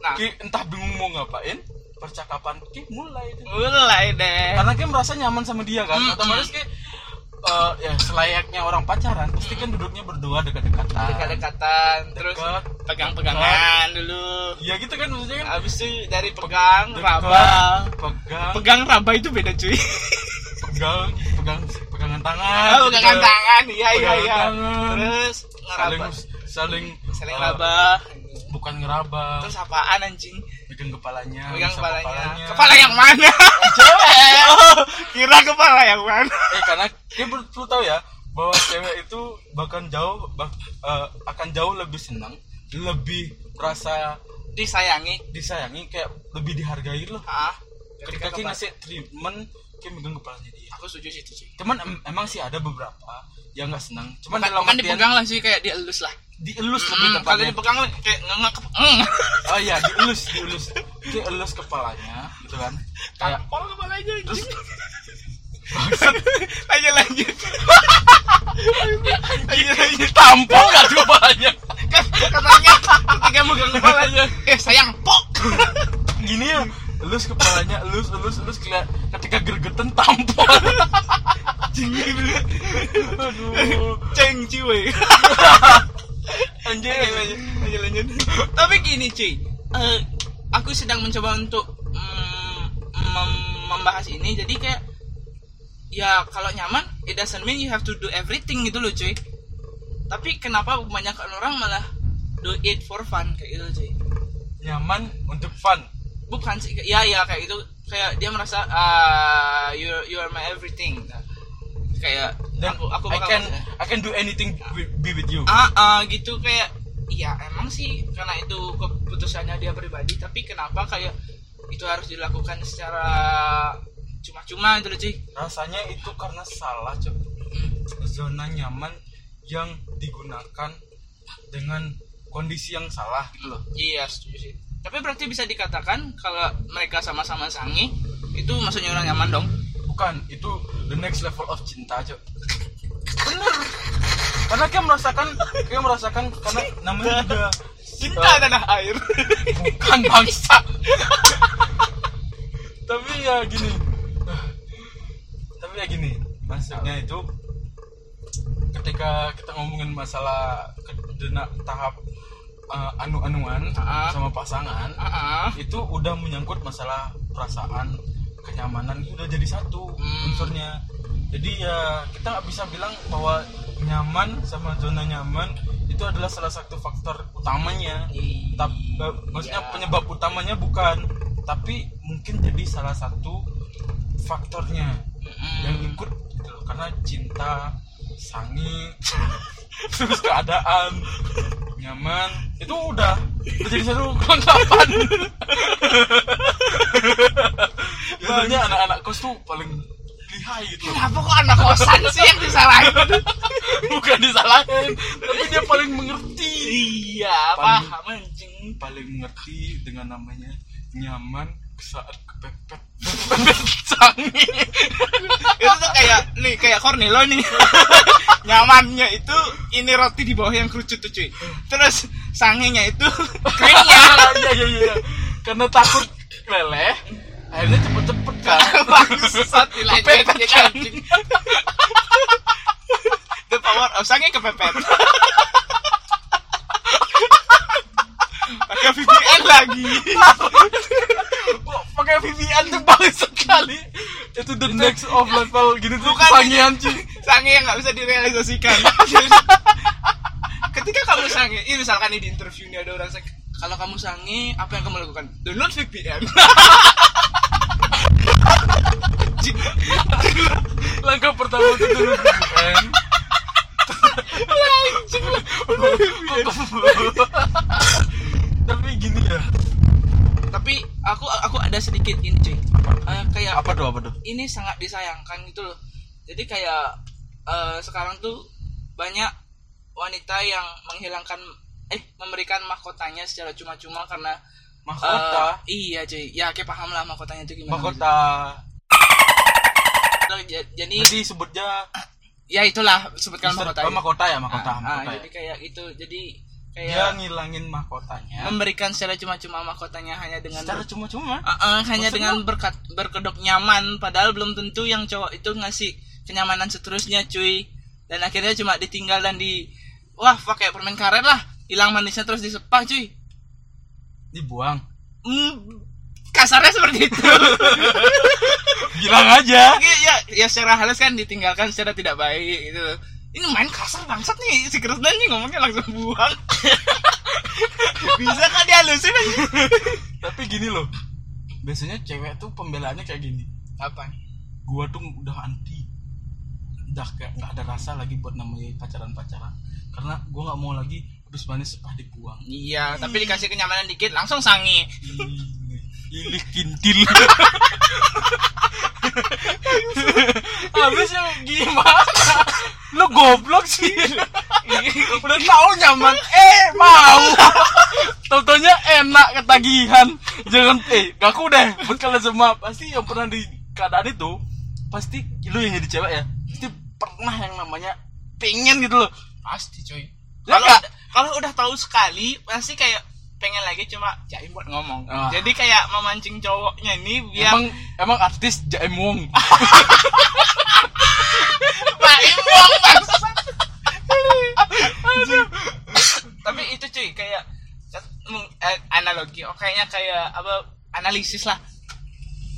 Speaker 1: nah
Speaker 2: Ki entah bingung mau ngapain percakapan Ki mulai tuh.
Speaker 1: mulai deh
Speaker 2: karena Ki merasa nyaman sama dia kan
Speaker 1: Mm-mm.
Speaker 2: otomatis Ki eh, ya selayaknya orang pacaran pasti kan duduknya berdua dekat-dekatan
Speaker 1: dekat-dekatan terus
Speaker 2: Dekat.
Speaker 1: pegang-pegangan dulu
Speaker 2: ya gitu kan maksudnya kan
Speaker 1: habis itu dari pegang
Speaker 2: dekat,
Speaker 1: raba
Speaker 2: pegang
Speaker 1: pegang raba itu beda cuy
Speaker 2: pegang pegang pegangan tangan
Speaker 1: oh, [LAUGHS] pegangan
Speaker 2: gitu.
Speaker 1: tangan iya iya
Speaker 2: Pegangan
Speaker 1: iya
Speaker 2: tangan.
Speaker 1: terus
Speaker 2: saling
Speaker 1: ngeraba
Speaker 2: saling
Speaker 1: saling
Speaker 2: eh,
Speaker 1: raba
Speaker 2: bukan ngeraba
Speaker 1: terus apaan anjing
Speaker 2: pegang Nah, kepalanya Eh,
Speaker 1: pegang
Speaker 2: usap
Speaker 1: kepalanya. Kepala yang mana? [LAUGHS] Oh, Kira kepala yang mana?
Speaker 2: eh karena dia perlu perlu tahu ya bahwa cewek itu bahkan jauh bah- eh, akan jauh lebih senang lebih merasa
Speaker 1: Disayangi.
Speaker 2: disayangi kayak lebih dihargai loh
Speaker 1: Ah,
Speaker 2: ketika
Speaker 1: kepala-
Speaker 2: kita ngasih treatment kayak megang kepalanya dia
Speaker 1: Aku setuju sih itu sih.
Speaker 2: cuman em- emang sih ada beberapa yang nggak senang cuman
Speaker 1: Bukan,
Speaker 2: Kan dalam
Speaker 1: bukan
Speaker 2: artian
Speaker 1: dipegang lah sih kayak dielus lah.
Speaker 2: dielus lebih
Speaker 1: Hmm, kalau
Speaker 2: tepatnya
Speaker 1: dipegang lah kayak ngengak. Hmm.
Speaker 2: oh iya dielus dielus dielus kepalanya gitu kan kayak
Speaker 1: Tampol kepalanya anjing. [LAUGHS] lanjut lanjut. lanjut lanjut.
Speaker 2: tampol nggak kepalanya
Speaker 1: Kan katanya ketika [LAUGHS] megang kepalanya, eh sayang pok.
Speaker 2: gini ya elus kepalanya elus elus elus keliat ketika gergeten tampol aduh
Speaker 1: Ceng cuy.
Speaker 2: anjir
Speaker 1: Oke, lanjut, lanjut, lanjut. [LAUGHS] Tapi gini cuy, Eh, aku sedang mencoba untuk mm, mem- membahas ini. Jadi kayak ya kalau nyaman, it doesn't mean you have to do everything gitu loh cuy. Tapi kenapa banyak orang malah do it for fun kayak gitu cuy?
Speaker 2: nyaman untuk fun
Speaker 1: Bukan sih, ya ya kayak gitu. Kayak dia merasa ah you you are my everything. Kayak
Speaker 2: dan
Speaker 1: aku aku
Speaker 2: I
Speaker 1: bakal ya.
Speaker 2: can I can do anything wi- be with you
Speaker 1: ah ah, gitu kayak ya emang sih karena itu keputusannya dia pribadi tapi kenapa kayak itu harus dilakukan secara cuma-cuma itu loh cuy
Speaker 2: rasanya itu karena salah cep zona nyaman yang digunakan dengan kondisi yang salah gitu loh
Speaker 1: iya setuju sih tapi berarti bisa dikatakan kalau mereka sama-sama sangi itu maksudnya orang nyaman dong
Speaker 2: bukan itu the next level of cinta aja bener karena kayak merasakan kayak merasakan karena namanya juga eh,
Speaker 1: tanah air
Speaker 2: bukan bangsa tapi ya gini tapi ya gini maksudnya itu ketika kita ngomongin masalah ke- dena- tahap eh, anu-anuan
Speaker 1: Ah.
Speaker 2: sama pasangan
Speaker 1: [LAUGHS] ah ah.
Speaker 2: itu udah menyangkut masalah perasaan kenyamanan itu udah jadi satu
Speaker 1: Hmm.
Speaker 2: unsurnya jadi ya kita nggak bisa bilang bahwa nyaman sama zona nyaman itu adalah salah satu faktor utamanya tapi eh, maksudnya
Speaker 1: Iya.
Speaker 2: penyebab utamanya bukan tapi mungkin jadi salah satu faktornya
Speaker 1: Mm-mm.
Speaker 2: yang ikut gitu loh. karena cinta sangi [LAUGHS] terus keadaan nyaman itu udah udah jadi satu kelengkapan biasanya Ya, anak-anak kos tuh paling lihai gitu [LAUGHS] loh.
Speaker 1: kenapa kok anak kosan sih yang disalahin
Speaker 2: bukan disalahin tapi dia paling mengerti
Speaker 1: iya
Speaker 2: Paling-
Speaker 1: paham anjing
Speaker 2: paling mengerti dengan namanya nyaman saat kepepet kepepet sangi
Speaker 1: itu tuh kayak nih kayak Cornelo [LAUGHS] nih nyamannya itu ini roti di bawah yang kerucut tuh cuy terus sanginya itu keringnya
Speaker 2: [LAUGHS] iya iya iya karena takut leleh akhirnya cepet-cepet [LAUGHS] kan
Speaker 1: [LAUGHS] bangsat dilanjutin
Speaker 2: Kepepetan.
Speaker 1: anjing. the power of sangi [LAUGHS] kepepet pakai VPN lagi
Speaker 2: [LAUGHS] Kok pakai VPN tuh paling sekali itu the next of level gini tuh
Speaker 1: Bukan.
Speaker 2: kesangian Ci.
Speaker 1: sange yang nggak bisa direalisasikan
Speaker 2: [LAUGHS]
Speaker 1: ketika kamu sange ini misalkan ini di interview ini ada orang sange kalau kamu sange apa yang kamu lakukan download VPN
Speaker 2: anjing langkah pertama itu dulu kan [LAUGHS] tapi gini ya
Speaker 1: [LAUGHS] tapi aku aku ada sedikit ini cuy Eh, kayak
Speaker 2: apa tuh apa tuh
Speaker 1: ini sangat disayangkan gitu loh jadi kayak eh, sekarang tuh banyak wanita yang menghilangkan eh memberikan mahkotanya secara cuma-cuma karena eh,
Speaker 2: mahkota
Speaker 1: iya cuy ya kayak paham lah mahkotanya itu gimana
Speaker 2: Eh, mahkota
Speaker 1: gitu. jadi
Speaker 2: jadi sebutnya
Speaker 1: ya itulah sebutkan
Speaker 2: Mister-
Speaker 1: mahkota
Speaker 2: oh, mahkota ya mahkota,
Speaker 1: Ah, ah,
Speaker 2: mahkota ya.
Speaker 1: jadi kayak itu jadi kayak
Speaker 2: dia ngilangin mahkotanya
Speaker 1: memberikan secara cuma-cuma mahkotanya hanya dengan
Speaker 2: secara cuma-cuma
Speaker 1: Ah, ah, hanya
Speaker 2: Maksud
Speaker 1: dengan berkat berkedok nyaman padahal belum tentu yang cowok itu ngasih kenyamanan seterusnya cuy dan akhirnya cuma ditinggal dan di wah pakai permen karet lah hilang manisnya terus disepah cuy
Speaker 2: dibuang
Speaker 1: Hmm, kasarnya seperti itu
Speaker 2: bilang aja
Speaker 1: Oke, ya ya secara halus kan ditinggalkan secara tidak baik gitu ini main kasar bangsat nih si Krisna nih ngomongnya langsung buang bisa kan dihalusin aja
Speaker 2: tapi gini loh biasanya cewek tuh pembelaannya kayak gini
Speaker 1: apa
Speaker 2: gua tuh udah anti udah kayak nggak ada rasa lagi buat namanya pacaran pacaran karena gua nggak mau lagi terus manis sepah dibuang
Speaker 1: iya tapi dikasih kenyamanan dikit langsung sangi
Speaker 2: Ini- ini kintil
Speaker 1: habis gimana
Speaker 2: lu goblok sih udah tahu nyaman eh mau Tontonnya enak ketagihan jangan eh aku deh buat kalian semua pasti yang pernah di keadaan itu pasti lu yang jadi cewek ya pasti pernah yang namanya pengen gitu loh
Speaker 1: pasti cuy
Speaker 2: Ya
Speaker 1: kalau
Speaker 2: nggak?
Speaker 1: kalau udah tahu sekali pasti kayak pengen lagi cuma jaim buat ngomong
Speaker 2: Ah.
Speaker 1: jadi kayak memancing cowoknya ini biar
Speaker 2: emang emang artis Jaim Wong
Speaker 1: Baim buang bangsat. tapi itu cuy kayak mung- eh, analogi oh, kayaknya kayak apa analisis lah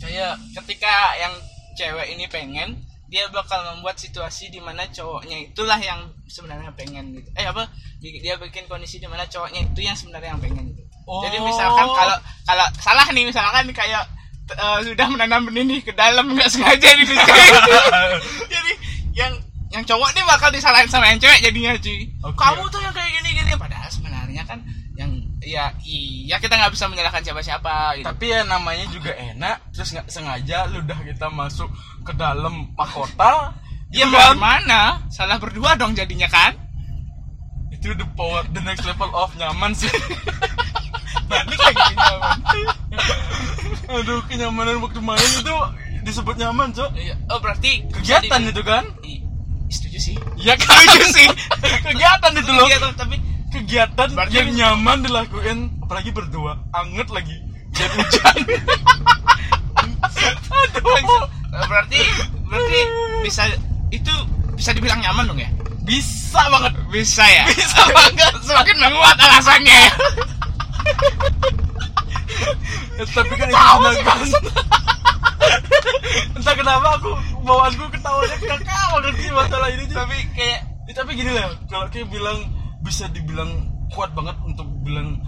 Speaker 1: kayak ketika yang cewek ini pengen dia bakal membuat situasi di mana cowoknya itulah yang sebenarnya pengen gitu eh apa di- dia bikin kondisi di mana cowoknya itu yang sebenarnya yang pengen gitu jadi
Speaker 2: Oh.
Speaker 1: misalkan kalau kalau salah nih misalkan kayak eh, sudah menanam benih nih ke dalam nggak sengaja nih
Speaker 2: [LAUGHS]
Speaker 1: [LAUGHS] jadi yang yang cowok nih bakal disalahin sama yang cewek jadinya cuy
Speaker 2: Oke.
Speaker 1: kamu tuh yang kayak gini gini padahal sebenarnya kan yang ya iya kita nggak bisa menyalahkan siapa siapa gitu
Speaker 2: tapi ya namanya juga enak terus nggak sengaja lu udah kita masuk ke dalam mahkota
Speaker 1: ya
Speaker 2: gitu
Speaker 1: mau
Speaker 2: kan?
Speaker 1: gimana salah berdua dong jadinya kan
Speaker 2: itu the power the next level of nyaman sih [LAUGHS] Nah,
Speaker 1: balik lagi ke nyaman.
Speaker 2: aduh kenyamanan waktu main itu disebut nyaman cok
Speaker 1: Iya. oh berarti
Speaker 2: kegiatan itu kan
Speaker 1: I- setuju sih
Speaker 2: ya kan
Speaker 1: [LAUGHS] setuju sih
Speaker 2: kegiatan itu
Speaker 1: [LAUGHS]
Speaker 2: loh
Speaker 1: Kegiatan, tapi
Speaker 2: kegiatan
Speaker 1: Berarti-
Speaker 2: yang nyaman dilakuin apalagi berdua anget lagi dan hujan
Speaker 1: [LAUGHS]
Speaker 2: aduh
Speaker 1: eh, berarti berarti bisa itu bisa dibilang nyaman dong ya
Speaker 2: bisa banget
Speaker 1: bisa ya
Speaker 2: bisa banget
Speaker 1: [LAUGHS] semakin menguat alasannya ya.
Speaker 2: Ya, tapi kan itu
Speaker 1: Ketawa sih,
Speaker 2: menegangkan. [LAUGHS] entah kenapa aku bawaanku ketawanya kakak banget sih masalah ini Cok.
Speaker 1: tapi kayak
Speaker 2: Ya, tapi gini lah kalau kayak bilang bisa dibilang kuat banget untuk bilang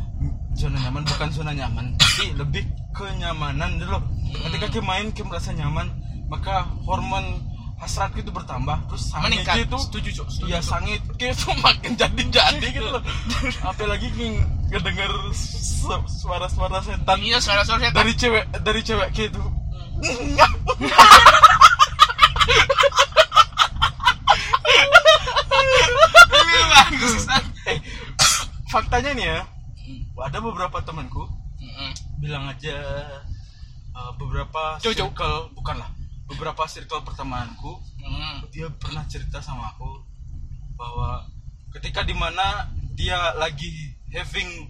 Speaker 2: zona nyaman bukan zona nyaman tapi lebih kenyamanan dulu ketika kayak main kayak merasa nyaman maka hormon hasrat itu bertambah terus sange
Speaker 1: Meningkat.
Speaker 2: itu
Speaker 1: Setuju, Cok. [LAUGHS] Setuju, Iya,
Speaker 2: ya
Speaker 1: Cok.
Speaker 2: sange kayak itu makin jadi jadi gitu
Speaker 1: [LAUGHS]
Speaker 2: loh apalagi kayak ngedenger su- suara-suara setan
Speaker 1: iya suara-suara setan.
Speaker 2: dari cewek dari cewek kayak itu
Speaker 1: [LAUGHS] Iya, bangsat.
Speaker 2: faktanya nih ya ada beberapa temanku bilang aja uh, beberapa
Speaker 1: Cowok-cowok.
Speaker 2: circle bukanlah beberapa circle pertemananku
Speaker 1: Mm.
Speaker 2: dia pernah cerita sama aku bahwa ketika dimana dia lagi having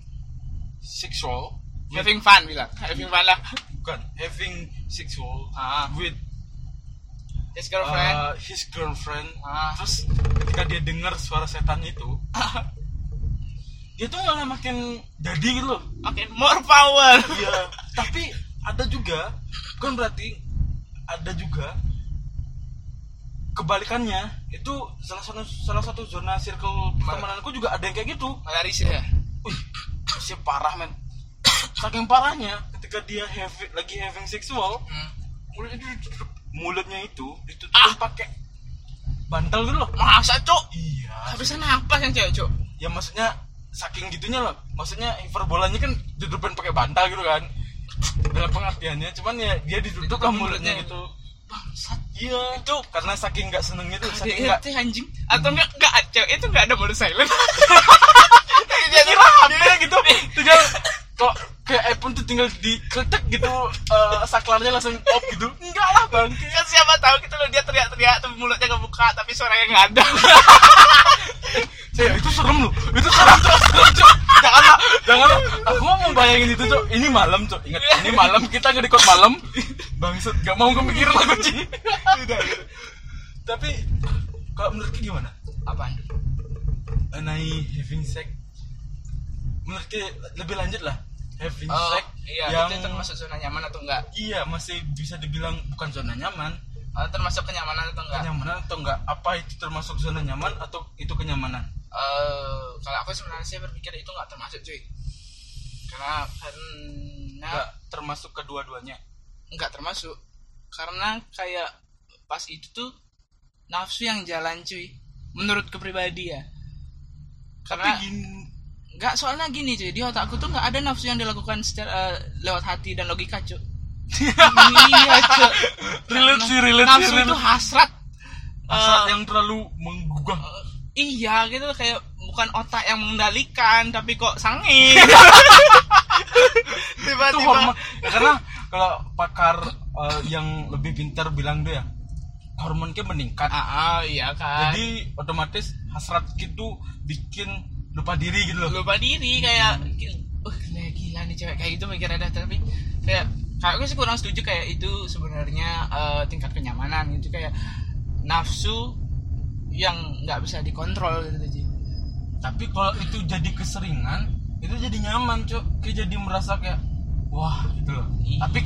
Speaker 2: sexual with-
Speaker 1: Having fun bilang. Having fun lah.
Speaker 2: bukan having sexual
Speaker 1: Ah.
Speaker 2: with
Speaker 1: Yes
Speaker 2: uh,
Speaker 1: girlfriend.
Speaker 2: his girlfriend
Speaker 1: Ah.
Speaker 2: terus ketika dia dengar suara setan
Speaker 1: [LAUGHS]
Speaker 2: itu dia tuh malah makin jadi gitu loh
Speaker 1: Uh. Oke, more power.
Speaker 2: Iya, [LAUGHS] tapi ada juga bukan berarti ada juga kebalikannya itu salah satu salah satu zona circle pertemananku juga ada yang kayak gitu
Speaker 1: Malah risih ya.
Speaker 2: Wih, si parah men [COUGHS] saking parahnya ketika dia have, lagi having sexual
Speaker 1: Hmm.
Speaker 2: mulut itu mulutnya itu
Speaker 1: Ah.
Speaker 2: ditutupin pakai bantal gitu loh
Speaker 1: masa cok
Speaker 2: iya
Speaker 1: habisan napas yang cewek cok
Speaker 2: ya maksudnya saking gitunya loh maksudnya hiperbolanya kan ditutupin pakai bantal gitu kan dalam pengertiannya cuman ya dia ditutup lah
Speaker 1: Ditutupin
Speaker 2: mulutnya
Speaker 1: mulutnya.
Speaker 2: gitu
Speaker 1: bangsat
Speaker 2: iya itu karena saking nggak senengnya tuh saking nggak
Speaker 1: KDRT anjing atau enggak enggak cewek itu enggak ada mode [LAUGHS] silent Iya,
Speaker 2: dia kira HP gitu tinggal kok kayak iPhone tuh tinggal dikletek gitu eh, saklarnya langsung off gitu enggak lah bang
Speaker 1: kan siapa tahu gitu loh dia teriak-teriak tapi mulutnya kebuka tapi suaranya nggak [LAUGHS] ada
Speaker 2: saya itu serem loh itu serem cok serem cok jangan lah jangan lah aku mau bayangin itu cok ini malam cok ingat ini malam kita ngerekord malam bangset gak mau kepikiran aku Ci. tapi kalau menurut Ki gimana
Speaker 1: apaan
Speaker 2: mengenai having sex menurut Ki lebih lanjut lah having
Speaker 1: oh,
Speaker 2: sex
Speaker 1: iya itu termasuk zona nyaman atau enggak
Speaker 2: iya masih bisa dibilang bukan zona nyaman
Speaker 1: Eh, termasuk kenyamanan atau enggak
Speaker 2: kenyamanan atau enggak apa itu termasuk zona nyaman atau itu kenyamanan
Speaker 1: Eh, kalau aku sebenarnya sih berpikir itu nggak termasuk cuy karena karena
Speaker 2: enggak termasuk kedua-duanya
Speaker 1: nggak termasuk karena kayak pas itu tuh nafsu yang jalan cuy menurut kepribadi ya karena
Speaker 2: tapi gini
Speaker 1: nggak soalnya gini cuy di otakku tuh nggak ada nafsu yang dilakukan secara eh, lewat hati dan logika cuy
Speaker 2: [LAUGHS]
Speaker 1: iya cuy
Speaker 2: Relate sih, relate sih,
Speaker 1: nafsu
Speaker 2: relate.
Speaker 1: itu hasrat
Speaker 2: Asal
Speaker 1: Eh,
Speaker 2: yang terlalu menggugah
Speaker 1: iya gitu kayak bukan otak yang mengendalikan tapi kok sange [LAUGHS]
Speaker 2: itu hormon Ya, karena kalau pakar eh, yang lebih pintar bilang dia hormon hormonnya meningkat
Speaker 1: ah, ah, iya kan
Speaker 2: jadi otomatis hasrat gitu bikin lupa diri gitu loh
Speaker 1: lupa diri kayak uh, gila, gila nih cewek kayak gitu mikirnya dah tapi kayak kayak aku sih kurang setuju kayak itu sebenarnya eh, tingkat kenyamanan gitu kayak nafsu yang nggak bisa dikontrol gitu Ji.
Speaker 2: tapi kalau itu jadi keseringan itu jadi nyaman cok kayak jadi merasa kayak wah gitu loh tapi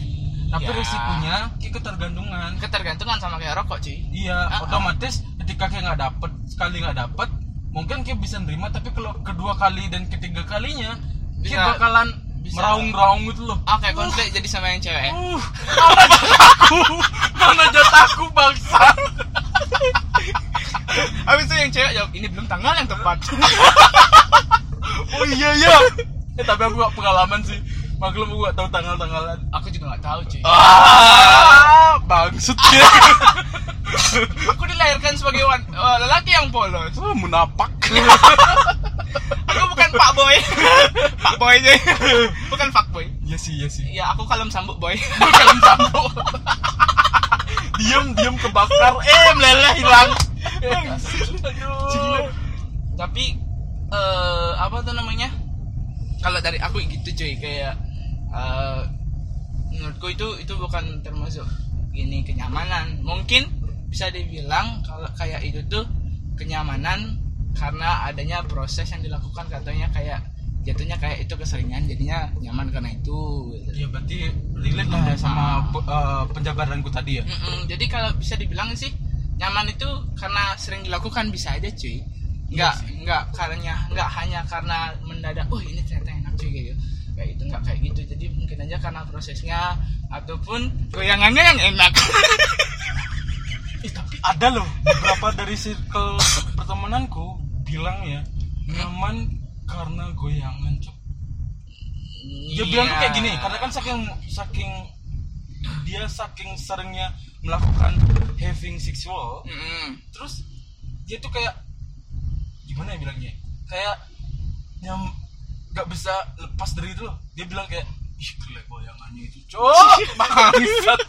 Speaker 2: tapi
Speaker 1: Iya.
Speaker 2: risikonya kayak ketergantungan
Speaker 1: ketergantungan sama kayak rokok cuy
Speaker 2: iya
Speaker 1: Ah, ah.
Speaker 2: otomatis ketika kayak nggak dapet sekali nggak dapet mungkin kayak bisa nerima tapi kalau kedua kali dan ketiga kalinya
Speaker 1: Bisa-
Speaker 2: kayak bakalan
Speaker 1: bisa.
Speaker 2: meraung-raung gitu loh
Speaker 1: ah kayak konflik jadi sama yang cewek
Speaker 2: uh mana jataku mana jataku bangsa
Speaker 1: habis itu yang cewek jawab ini belum tanggal yang tepat
Speaker 2: oh iya iya eh, tapi aku gak pengalaman sih maklum aku gak tahu tanggal-tanggalan
Speaker 1: [LAUGHS] aku juga nggak tahu cuy
Speaker 2: ah bangset ya
Speaker 1: aku dilahirkan sebagai wan- eh, lelaki yang polos
Speaker 2: Ah, munapak
Speaker 1: aku bukan pak boy [LAUGHS] pak boy aja bukan pak boy
Speaker 2: iya sih iya sih
Speaker 1: ya aku kalem sambuk boy [LAUGHS]
Speaker 2: kalem sambuk diam diam kebakar eh meleleh hilang Gila.
Speaker 1: tapi eh apa tuh namanya kalau dari aku gitu cuy kayak eh, menurutku itu itu bukan termasuk gini kenyamanan mungkin bisa dibilang kalau kayak itu tuh kenyamanan karena adanya proses yang dilakukan katanya kayak jatuhnya kayak itu keseringan jadinya nyaman karena itu gitu.
Speaker 2: Ya berarti relate lah ya sama eh, penjabaranku tadi ya.
Speaker 1: Mm-mm, jadi kalau bisa dibilang sih nyaman itu karena sering dilakukan bisa aja cuy.
Speaker 2: Iya
Speaker 1: Nggak nggak karena nggak hanya karena mendadak. Oh ini ternyata enak cuy kayak gitu. Kayak itu nggak kayak gitu. Jadi mungkin aja karena prosesnya ataupun goyangannya yang enak.
Speaker 2: Eh, tapi ada loh beberapa dari circle pertemananku bilang ya nyaman karena goyangan cok. [LAUGHS]
Speaker 1: Iya.
Speaker 2: Dia bilang tuh kayak gini karena kan saking saking dia saking seringnya melakukan having sexual
Speaker 1: Mm-mm.
Speaker 2: terus dia tuh kayak gimana ya bilangnya kayak nyam nggak bisa lepas dari itu loh dia bilang kayak ih gila bayangannya itu [LAUGHS] cok bangsat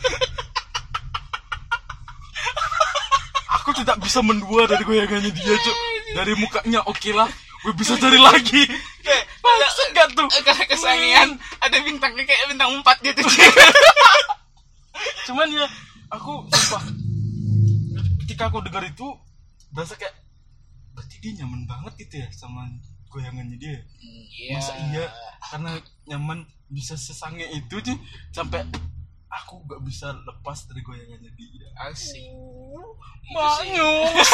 Speaker 2: aku tidak bisa mendua dari goyangannya dia cok dari mukanya oke lah gue bisa cari lagi
Speaker 1: Kayak- [LAUGHS]
Speaker 2: bangsat gak tuh
Speaker 1: Eh, Karena kesangian ada bintangnya kayak bintang 4 gitu
Speaker 2: [LAUGHS]
Speaker 1: cuy.
Speaker 2: cuman ya aku sumpah ketika aku dengar itu berasa kayak berarti dia nyaman banget gitu ya sama goyangannya dia masa iya karena nyaman bisa sesange itu sih sampai aku gak bisa lepas dari goyangannya dia
Speaker 1: Asik.
Speaker 2: Iya
Speaker 1: Itu sih.
Speaker 2: Manyus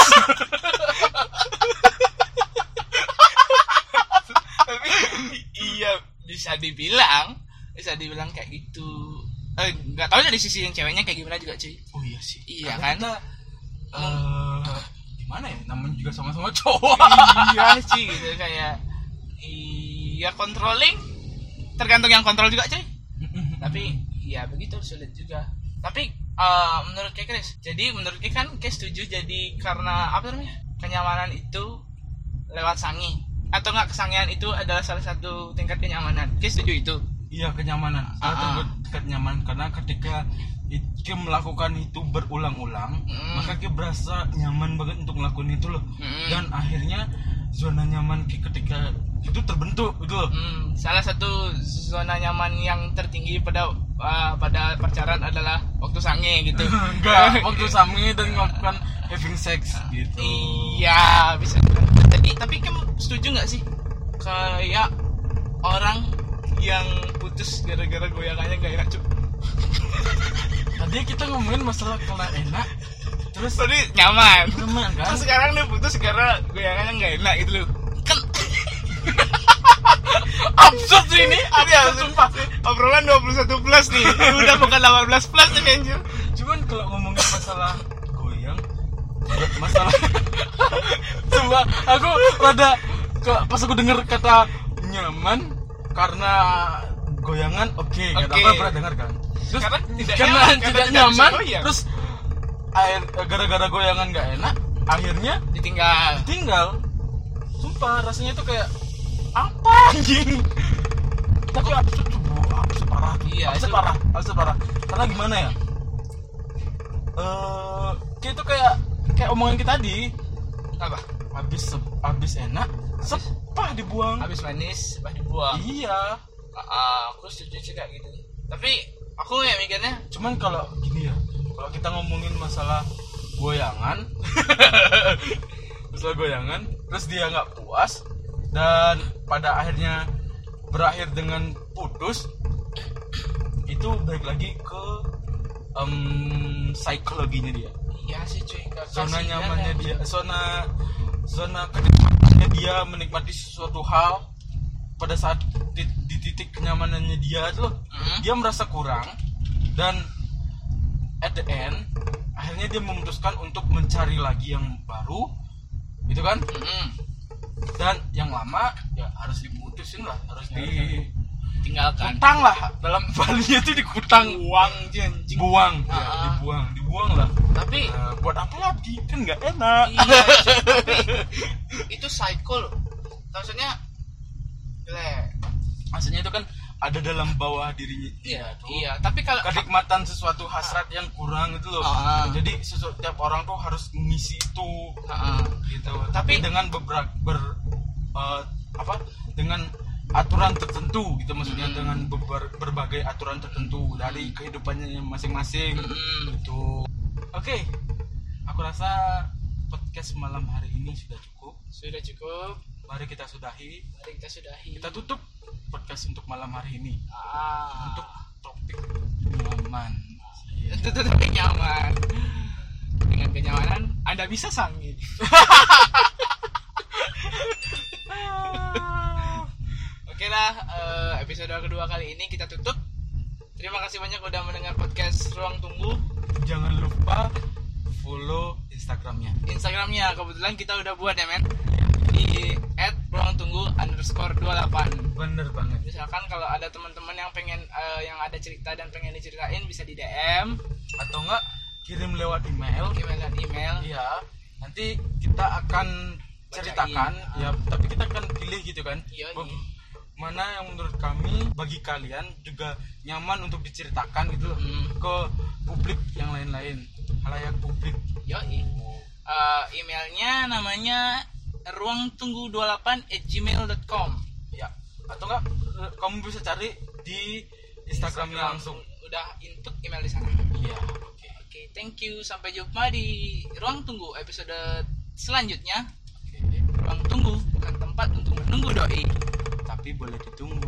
Speaker 1: tapi [LAUGHS] iya bisa dibilang bisa dibilang kayak gitu eh nggak tahu dari sisi yang ceweknya kayak gimana juga cuy
Speaker 2: oh iya sih
Speaker 1: Iya
Speaker 2: Karena
Speaker 1: kan?
Speaker 2: kita, eh, gimana ya namanya juga sama-sama cowok [LAUGHS]
Speaker 1: iya sih gitu kayak iya controlling tergantung yang kontrol juga cuy tapi ya begitu sulit juga tapi eh, menurut kayak Chris jadi menurut Kay kan Kay setuju jadi karena apa namanya kenyamanan itu lewat sangi atau enggak kesangian itu adalah salah satu tingkat kenyamanan Kay setuju itu
Speaker 2: iya kenyamanan
Speaker 1: Ah.
Speaker 2: saya uh kenyamanan karena ketika kita melakukan itu berulang-ulang
Speaker 1: Mm.
Speaker 2: maka kita berasa nyaman banget untuk melakukan itu loh
Speaker 1: Mm.
Speaker 2: dan akhirnya zona nyaman kita ketika itu terbentuk gitu loh
Speaker 1: Hmm, salah satu zona nyaman yang tertinggi pada eh, pada pacaran adalah waktu sangi [LAUGHS] gitu
Speaker 2: enggak waktu sami dan melakukan having sex gitu
Speaker 1: Iya, bisa. Tapi tapi kamu setuju nggak sih kayak orang yang putus gara-gara goyangannya nggak enak cuy?
Speaker 2: tadi kita ngomongin masalah kalau enak
Speaker 1: Terus tadi nyaman.
Speaker 2: teman kan
Speaker 1: Terus sekarang dia putus gara goyangannya nggak enak gitu loh. Kan [LAUGHS] absurd sih ini. Ada sumpah. Obrolan 21 plus [LAUGHS] nih. Udah bukan 18 plus nih anjir.
Speaker 2: cuman kalau ngomongin masalah goyang buat masalah [LAUGHS] coba aku rada ke, pas aku dengar kata nyaman karena goyangan oke kata
Speaker 1: Oke.
Speaker 2: aku pernah dengar kan terus
Speaker 1: Karena tidak
Speaker 2: karena
Speaker 1: nyaman, karena
Speaker 2: tidak
Speaker 1: tidak
Speaker 2: nyaman
Speaker 1: bisa goyang.
Speaker 2: terus air gara-gara goyangan nggak enak akhirnya
Speaker 1: Ditinggal.
Speaker 2: tinggal sumpah rasanya itu kayak apa anjing tapi absurd tuh Bu. absurd parah
Speaker 1: Iya,
Speaker 2: absurd
Speaker 1: itu-
Speaker 2: parah absurd parah karena gimana ya eh kayak itu kayak kayak omongan kita tadi
Speaker 1: Apa?
Speaker 2: habis sep- habis enak sepah dibuang
Speaker 1: Habis manis, habis dibuang.
Speaker 2: iya
Speaker 1: Ah, aku setuju sih kayak gitu. Tapi aku ya mikirnya
Speaker 2: cuman kalau gini ya kalau kita ngomongin masalah goyangan masalah goyangan terus dia nggak puas dan pada akhirnya berakhir dengan putus itu balik lagi ke em, psikologinya dia
Speaker 1: Iya sih cuy, gak
Speaker 2: zona
Speaker 1: kasihan
Speaker 2: nyamannya
Speaker 1: ya.
Speaker 2: dia zona zona kenikmatannya dia menikmati sesuatu hal pada saat di, di titik kenyamanannya dia tuh loh,
Speaker 1: Mhm.
Speaker 2: dia merasa kurang dan at the end akhirnya dia memutuskan untuk mencari lagi yang baru gitu kan
Speaker 1: Mm-mm.
Speaker 2: dan yang lama ya harus diputusin lah harus di
Speaker 1: Tinggalkan.
Speaker 2: kutang lah dalam [LAUGHS] balinya itu dikutang
Speaker 1: Uang janji.
Speaker 2: buang ya,
Speaker 1: Ah.
Speaker 2: dibuang dibuang lah
Speaker 1: Tapi
Speaker 2: Eh, buat apa lagi kan nggak enak
Speaker 1: iya, cuy, tapi itu psycho loh. Maksudnya le.
Speaker 2: [LAUGHS] maksudnya itu kan ada dalam bawah dirinya
Speaker 1: Iya,
Speaker 2: tuh.
Speaker 1: iya. Tapi kalau
Speaker 2: kenikmatan sesuatu hasrat yang kurang itu loh
Speaker 1: Ah.
Speaker 2: jadi sesuatu tiap orang tuh harus ngisi itu
Speaker 1: Ah, ah.
Speaker 2: gitu
Speaker 1: Tapi-
Speaker 2: tapi dengan beberapa ber eh, apa dengan aturan tertentu gitu maksudnya
Speaker 1: Hmm.
Speaker 2: dengan beber- berbagai aturan tertentu dari kehidupannya masing-masing
Speaker 1: Mm-mm.
Speaker 2: gitu oke aku rasa podcast malam hari ini sudah cukup
Speaker 1: sudah cukup.
Speaker 2: mari kita sudahi
Speaker 1: Mari kita sudahi.
Speaker 2: kita tutup podcast untuk malam hari ini
Speaker 1: Ah.
Speaker 2: untuk topik nyaman
Speaker 1: itu [LAUGHS] tetap nyaman dengan kenyamanan anda bisa sangi oke lah eh, episode kedua kali ini kita tutup terima kasih banyak udah mendengar podcast ruang tunggu
Speaker 2: [LAUGHS] jangan lupa follow instagramnya
Speaker 1: instagramnya kebetulan kita udah buat ya men di at ruang tunggu underscore 28
Speaker 2: bener banget
Speaker 1: misalkan kalau ada teman-teman yang pengen eh, yang ada cerita dan pengen diceritain bisa di dm
Speaker 2: atau enggak kirim lewat email
Speaker 1: email dan email
Speaker 2: iya nanti kita akan ceritakan
Speaker 1: Bacain.
Speaker 2: ya tapi kita akan pilih gitu kan
Speaker 1: Iya,
Speaker 2: Be-
Speaker 1: iya.
Speaker 2: mana yang menurut kami bagi kalian juga nyaman untuk diceritakan gitu loh
Speaker 1: Hmm.
Speaker 2: ke publik yang lain-lain halayak publik
Speaker 1: Yoi. Eh, emailnya namanya ruang tunggu 28 at gmail.com
Speaker 2: ya atau enggak eh, kamu bisa cari di instagramnya langsung
Speaker 1: udah input email di sana
Speaker 2: iya oke
Speaker 1: oke thank you sampai jumpa di ruang tunggu episode selanjutnya
Speaker 2: oke
Speaker 1: ruang tunggu bukan tempat untuk menunggu doi
Speaker 2: tapi boleh ditunggu.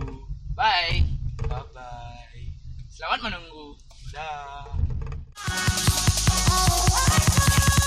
Speaker 1: bye
Speaker 2: Bye bye.
Speaker 1: selamat menunggu
Speaker 2: Dah.
Speaker 3: Oh, oh, oh,